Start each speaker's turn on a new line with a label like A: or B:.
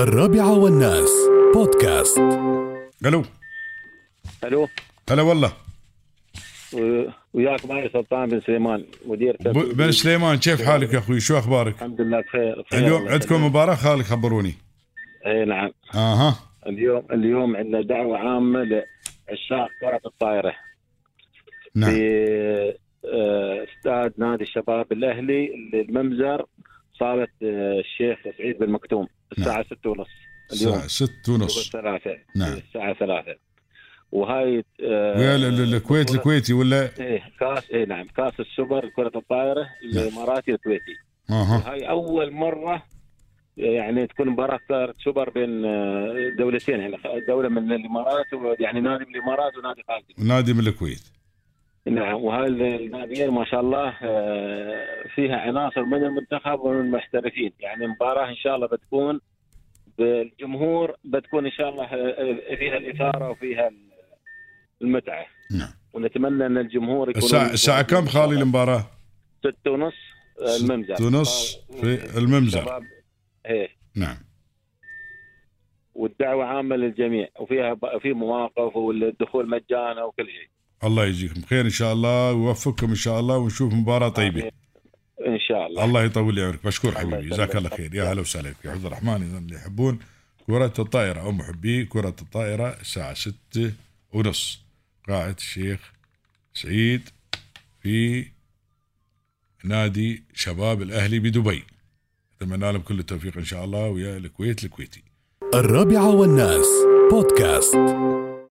A: الرابعة والناس بودكاست
B: الو
C: الو
B: هلا والله
C: و- وياك معي سلطان بن سليمان
B: ب-
C: مدير تربية.
B: بن سليمان كيف حالك يا اخوي شو اخبارك؟
C: الحمد لله بخير بخير
B: اليوم
C: الله
B: عندكم
C: يسلمك.
B: مباراه خالك خبروني
C: اي نعم
B: اها
C: اليوم اليوم عندنا دعوه عامه لعشاق كره الطائره
B: نعم
C: في آه، استاد نادي الشباب الاهلي الممزر صاله آه، الشيخ سعيد بن مكتوم الساعه 6:30 ونص اليوم
B: الساعه 6 نعم. ونص
C: الثلاثة
B: نعم.
C: الساعة ثلاثة وهاي آه،
B: ويا ال- ال- الكويت
C: بطولة-
B: الكويتي ولا
C: ايه كاس ايه نعم كاس السوبر كرة الطائرة
B: نعم.
C: الاماراتي الكويتي
B: اها
C: هاي اول مره يعني تكون مباراه كره سوبر بين آه، دولتين يعني دوله من الامارات و- يعني نادي من الامارات ونادي خالدي
B: نادي من الكويت
C: نعم وهذه الناديين ما شاء الله آه، فيها عناصر من المنتخب ومن المحترفين يعني مباراه ان شاء الله بتكون بالجمهور بتكون ان شاء الله آه، فيها الاثاره وفيها المتعه
B: نعم
C: ونتمنى ان الجمهور يكون
B: الساعه الساعه كم خالي المباراه؟
C: ستة ونص آه، الممزر
B: 6 ونص في الممزر
C: شباب ايه
B: نعم
C: والدعوه عامه للجميع وفيها ب- في مواقف والدخول مجانا وكل شيء
B: الله يجزيكم خير ان شاء الله ويوفقكم ان شاء الله ونشوف مباراه طيبه
C: ان شاء الله
B: الله يطول لي عمرك مشكور
C: الله
B: حبيبي
C: يسلمك.
B: جزاك الله خير يا هلا وسهلا فيك عبد الرحمن اذا اللي يحبون كرة الطائرة او محبي كرة الطائرة الساعة ستة ونص قاعة الشيخ سعيد في نادي شباب الاهلي بدبي اتمنى لهم كل التوفيق ان شاء الله ويا الكويت الكويتي
A: الرابعة والناس بودكاست